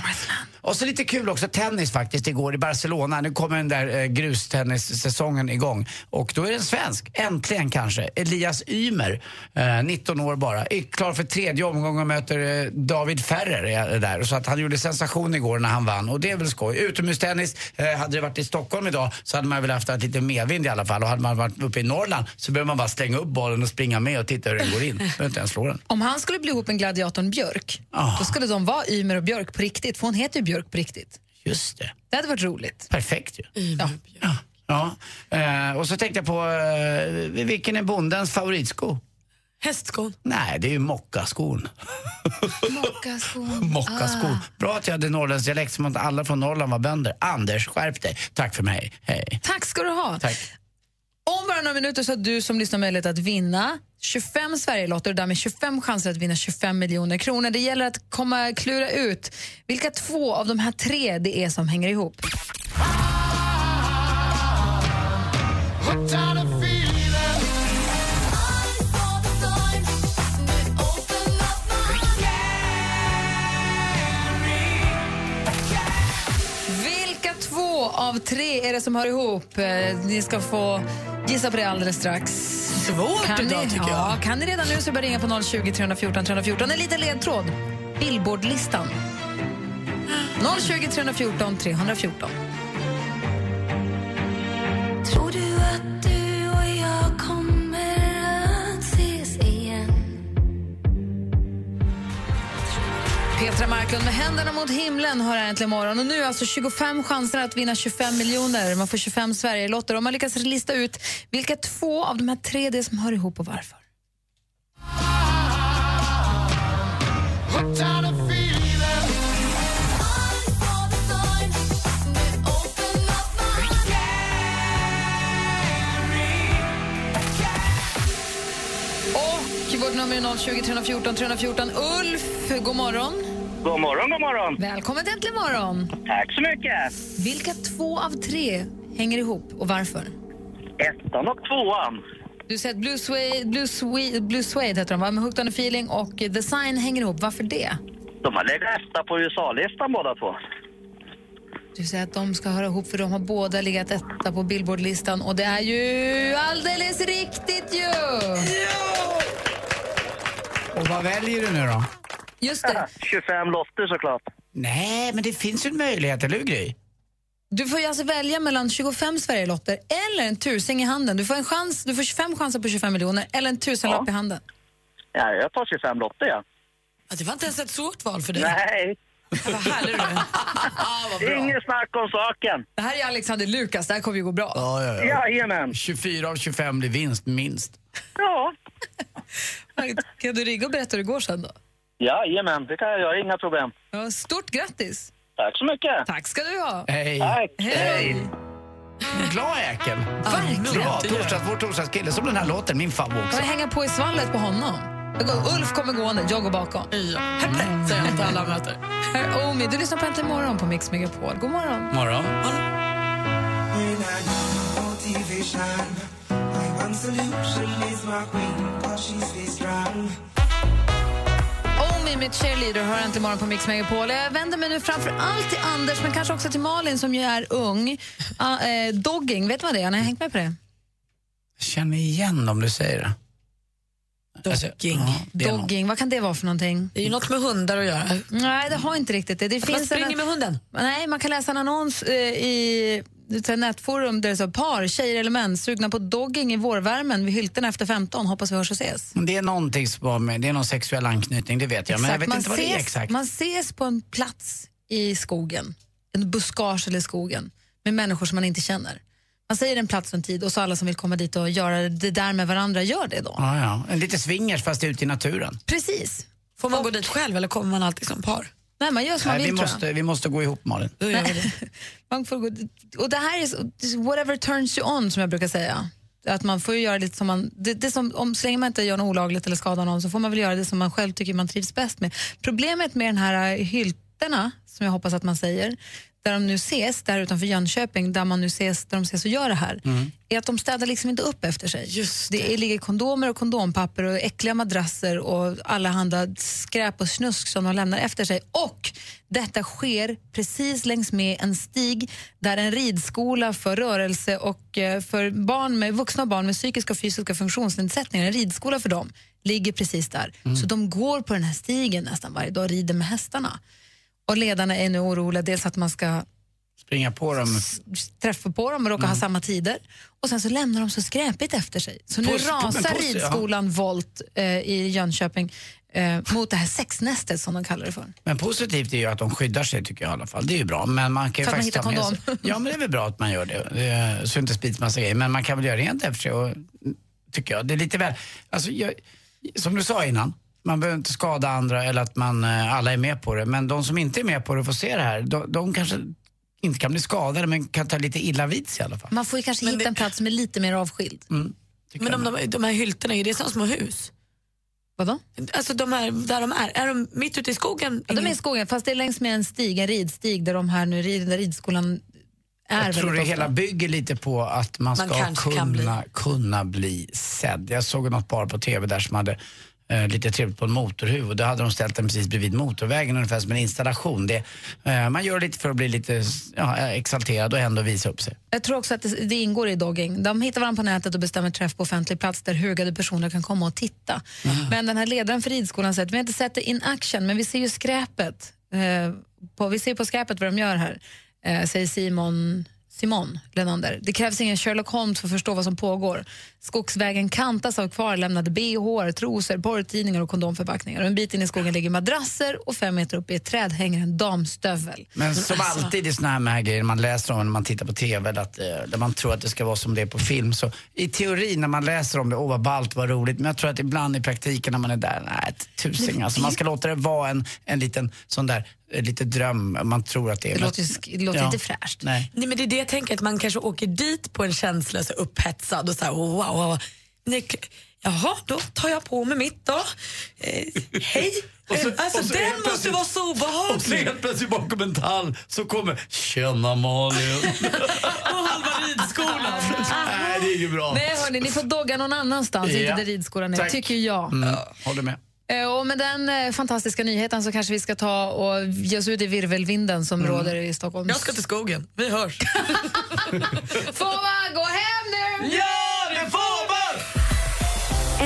Och så lite kul också, tennis faktiskt, igår i Barcelona. Nu kommer den där eh, grustennissäsongen igång. Och då är det en svensk, äntligen kanske, Elias Ymer, eh, 19 år bara. Är klar för tredje omgången och möter eh, David Ferrer är där. Så att han gjorde sensation igår när han vann och det är väl skoj. Utomhustennis, eh, hade det varit i Stockholm idag så hade man väl haft lite medvind i alla fall. Och hade man varit uppe i Norrland så behöver man bara slänga upp bollen och springa med och titta hur den går in. Behöver inte ens slå den.
Om han skulle bli ihop med gladiatorn Björk,
Ah.
då skulle de vara Ymer och Björk på riktigt, för hon heter ju Björk på riktigt.
Just det.
Det hade varit roligt.
Perfekt ju.
Ja.
Ja, eh, och så tänkte jag på, eh, vilken är bondens favoritsko?
Hästskon.
Nej, det är ju mockaskon.
Mockaskon.
Mockaskon.
Ah.
Bra att jag hade norrländsk dialekt som att alla från Norrland var bönder. Anders, skärp dig. Tack för mig. Hej.
Tack ska du ha.
Tack.
Om bara några minuter så har du som lyssnar möjlighet att vinna 25 Sverigelotter och därmed 25 chanser att vinna 25 miljoner kronor. Det gäller att komma klura ut vilka två av de här tre det är som hänger ihop. Vilka två av tre är det som hör ihop? Eh, Ni ska få gissa på det alldeles strax. Svårt kan
idag,
ni,
tycker jag.
Ja, kan ni redan nu så bara ringa på 020 314 314. En liten ledtråd. Billboardlistan. 020 314 314.
Tror du att du och jag kommer att ses igen?
Petra Marklund med händerna mot himlen har jag äntligen morgon. Och nu är alltså 25 chanser att vinna 25 miljoner. Man får 25 Sverigelotter. Om man lyckas lista ut vilka två av de här tre det är som hör ihop och varför. Och vårt nummer är 020 314 314. Ulf, god morgon.
God morgon, god morgon.
Välkommen till Äntligen morgon.
Tack så mycket.
Vilka två av tre hänger ihop och varför?
Ettan och tvåan.
Du säger att Blue Suede, Blue Suede, Blue Suede heter de, va? Med Hooked on a feeling och The Sign hänger ihop. Varför det?
De har legat etta på USA-listan båda två.
Du säger att de ska höra ihop för de har båda legat etta på Billboardlistan och det är ju alldeles riktigt ju!
Och vad väljer du nu då?
Just det.
25 lotter såklart.
Nej, men det finns ju en möjlighet, eller hur Gry?
Du får ju alltså välja mellan 25 Sverigelotter eller en tusing i handen. Du får, en chans, du får 25 chanser på 25 miljoner eller en tusenlapp i handen.
Ja, jag tar 25 lotter, ja.
Ja, det var inte ens ett svårt val för dig.
Nej.
Vad härlig du är.
Inget snack om saken.
Det här är Alexander Lukas, det här kommer ju gå bra.
Jajamän.
24 av 25 blir vinst, minst.
Ja.
Kan du ringa och berätta hur det går sen då?
Jajamän, det kan jag göra. Inga problem.
Ja, stort grattis!
Tack så mycket.
Tack ska du ha.
Tack.
Hej.
Glad jäkel.
verkligen.
Bra, torsdags, vår torsdagskille. Som den här låten, min favorit
Får
också.
jag hänga på i svallet på honom? Jag går, Ulf kommer gående, jag går bakom. Ja. Säger jag till alla möter. Herr Omi, du lyssnar på Äntligen morgon på Mix Megapol. God morgon.
Morgon.
Omi med Cheerleader hör Äntligen morgon på Mix Megapol. Jag vänder mig nu framför allt till Anders, men kanske också till Malin som ju är ung. Ah, eh, dogging, vet du vad det är? Har ni hängt med på det?
Jag känner igen om du säger det. Alltså, ja, det är någon.
Dogging, vad kan det vara för någonting? Det är ju något med hundar att göra. Nej, det har inte riktigt det. det
Att man springer
en,
med
hunden? Nej, man kan läsa en annons eh, i ett sånt här nätforum där det står par, tjejer eller män, sugna på dogging i vårvärmen vid hylten efter 15. Hoppas vi hörs och ses.
Men Det är någonting som har med, det är någon sexuell anknytning, det vet jag. Men jag vet
man,
inte vad det är
ses,
exakt.
man ses på en plats i skogen, en buskage eller skogen, med människor som man inte känner. Man säger en plats och en tid och så alla som vill komma dit och göra det där med varandra gör det då.
Ja, ja. En lite swingers fast ute i naturen.
Precis.
Får man gå dit själv eller kommer man alltid som par?
Nej, man gör som man
Nej,
vill
vi,
tror jag.
måste, vi måste gå ihop Malin.
Man får gå, och det här är så- whatever turns you on som jag brukar säga. Att man får ju göra lite som man, det, det som, om, så länge man inte gör något olagligt eller skadar någon så får man väl göra det som man själv tycker man trivs bäst med. Problemet med den här eh, hyltorna, som jag hoppas att man säger, där de nu ses, där utanför Jönköping, där man nu ses, där de ses och gör det här,
Mm.
är att de städar liksom inte upp efter sig. det. är- ligger kondomer och kondompapper och äckliga madrasser och allehanda skräp och snusk som de lämnar efter sig. Och detta sker precis längs med en stig där en ridskola för rörelse och eh, för barn med, vuxna och barn med psykiska och fysiska funktionsnedsättningar, en ridskola för dem, ligger precis där.
Mm.
Så de går på den här stigen nästan varje dag och rider med hästarna. Och ledarna är nu oroliga, dels att man ska
Springa på dem.
träffa på dem och råkar ha samma tider. Och sen så lämnar de så skräpigt efter sig. Så nu
Post- men
rasar
post-
ridskolan Volt eh, i Jönköping eh, mot det här sexnästet som de kallar det för.
Men positivt är ju att de skyddar sig tycker jag i alla fall. Det är ju bra. Men man kan ju
För att man
faktiskt
hittar
ta med
kondom.
sig. Ja men det är väl bra att man gör det. det är, så det inte sprids massa grejer. Men man kan väl göra rent efter sig och, tycker jag. Det är lite väl, alltså, jag, som du sa innan. Man behöver inte skada andra eller att man, eh, alla är med på det. Men de som inte är med på det och får se det här, de, de kanske inte kan bli skadade men kan ta lite illa vid sig i alla fall. Mm.
Man får ju kanske hitta en plats som är lite mer avskild.
Men om de, de här hyltorna, är det som små hus?
Vadå?
Alltså de här, där de är, är de mitt ute i skogen?
Ja, de är i skogen, fast det är längs med en stig, en ridstig där de här nu rider, där ridskolan är
Jag tror det
väldigt ofta.
hela bygger lite på att man
Man
ska
kanske kan
kunna, kunna bli sedd. Jag såg något par på tv där som hade eh, lite trevligt på en motorhuv och då hade de ställt den precis bredvid motorvägen ungefär som en installation. Det, eh, man gör lite för att bli lite ja, eh, exalterad och ändå visa upp sig.
Jag tror också att det, det ingår i dogging. De hittar varandra på nätet och bestämmer träff på offentlig plats där hugade personer kan komma och titta.
Mm.
Men den här ledaren för ridskolan säger att vi har inte sett det in action, men vi ser ju skräpet. Eh, på, vi ser på skräpet vad de gör här, eh, säger Simon Simon Lenander. Det krävs ingen Sherlock Holmes för att förstå vad som pågår. Skogsvägen kantas av kvarlämnade bh, trosor, porrtidningar och kondomförpackningar. Och en bit in i skogen ligger madrasser och fem meter upp i ett träd hänger en damstövel.
Men som
alltså-
alltid i såna här, med här grejer man läser om när man tittar på TV, eller att, eh, där man tror att det ska vara som det är på film. Så i teorin när man läser om det, åh vad ballt, vad roligt. Men jag tror att ibland i praktiken när man är där, nej ett tusing alltså. Man ska låta det vara en, en liten sån där, eh, lite dröm man tror att det är.
Det
Men-
låter ju sk- det låter inte fräscht.
Nej.
Nej, men det är det jag tänker, att man kanske åker dit på en känsla så upphetsad och så här, wow, wow, wow. Nej, k- Jaha, då tar jag på mig mitt då. Eh, hej! Eh, alltså den måste vara så obehaglig.
plötsligt bakom en tall så kommer “Tjena Malin”.
Och halva ridskolan.
nej, det är ju bra.
Nej, hörni, ni får dogga någon annanstans,
Ja.
inte där ridskolan är,
Tack.
tycker jag.
Mm, håller med.
Eh, Och med den eh, fantastiska nyheten så kanske vi ska ta och ge oss ut i virvelvinden
Mm.
som råder i Stockholm.
Jag ska till skogen. Vi hörs.
Får man gå hem nu?
Ja, det får man!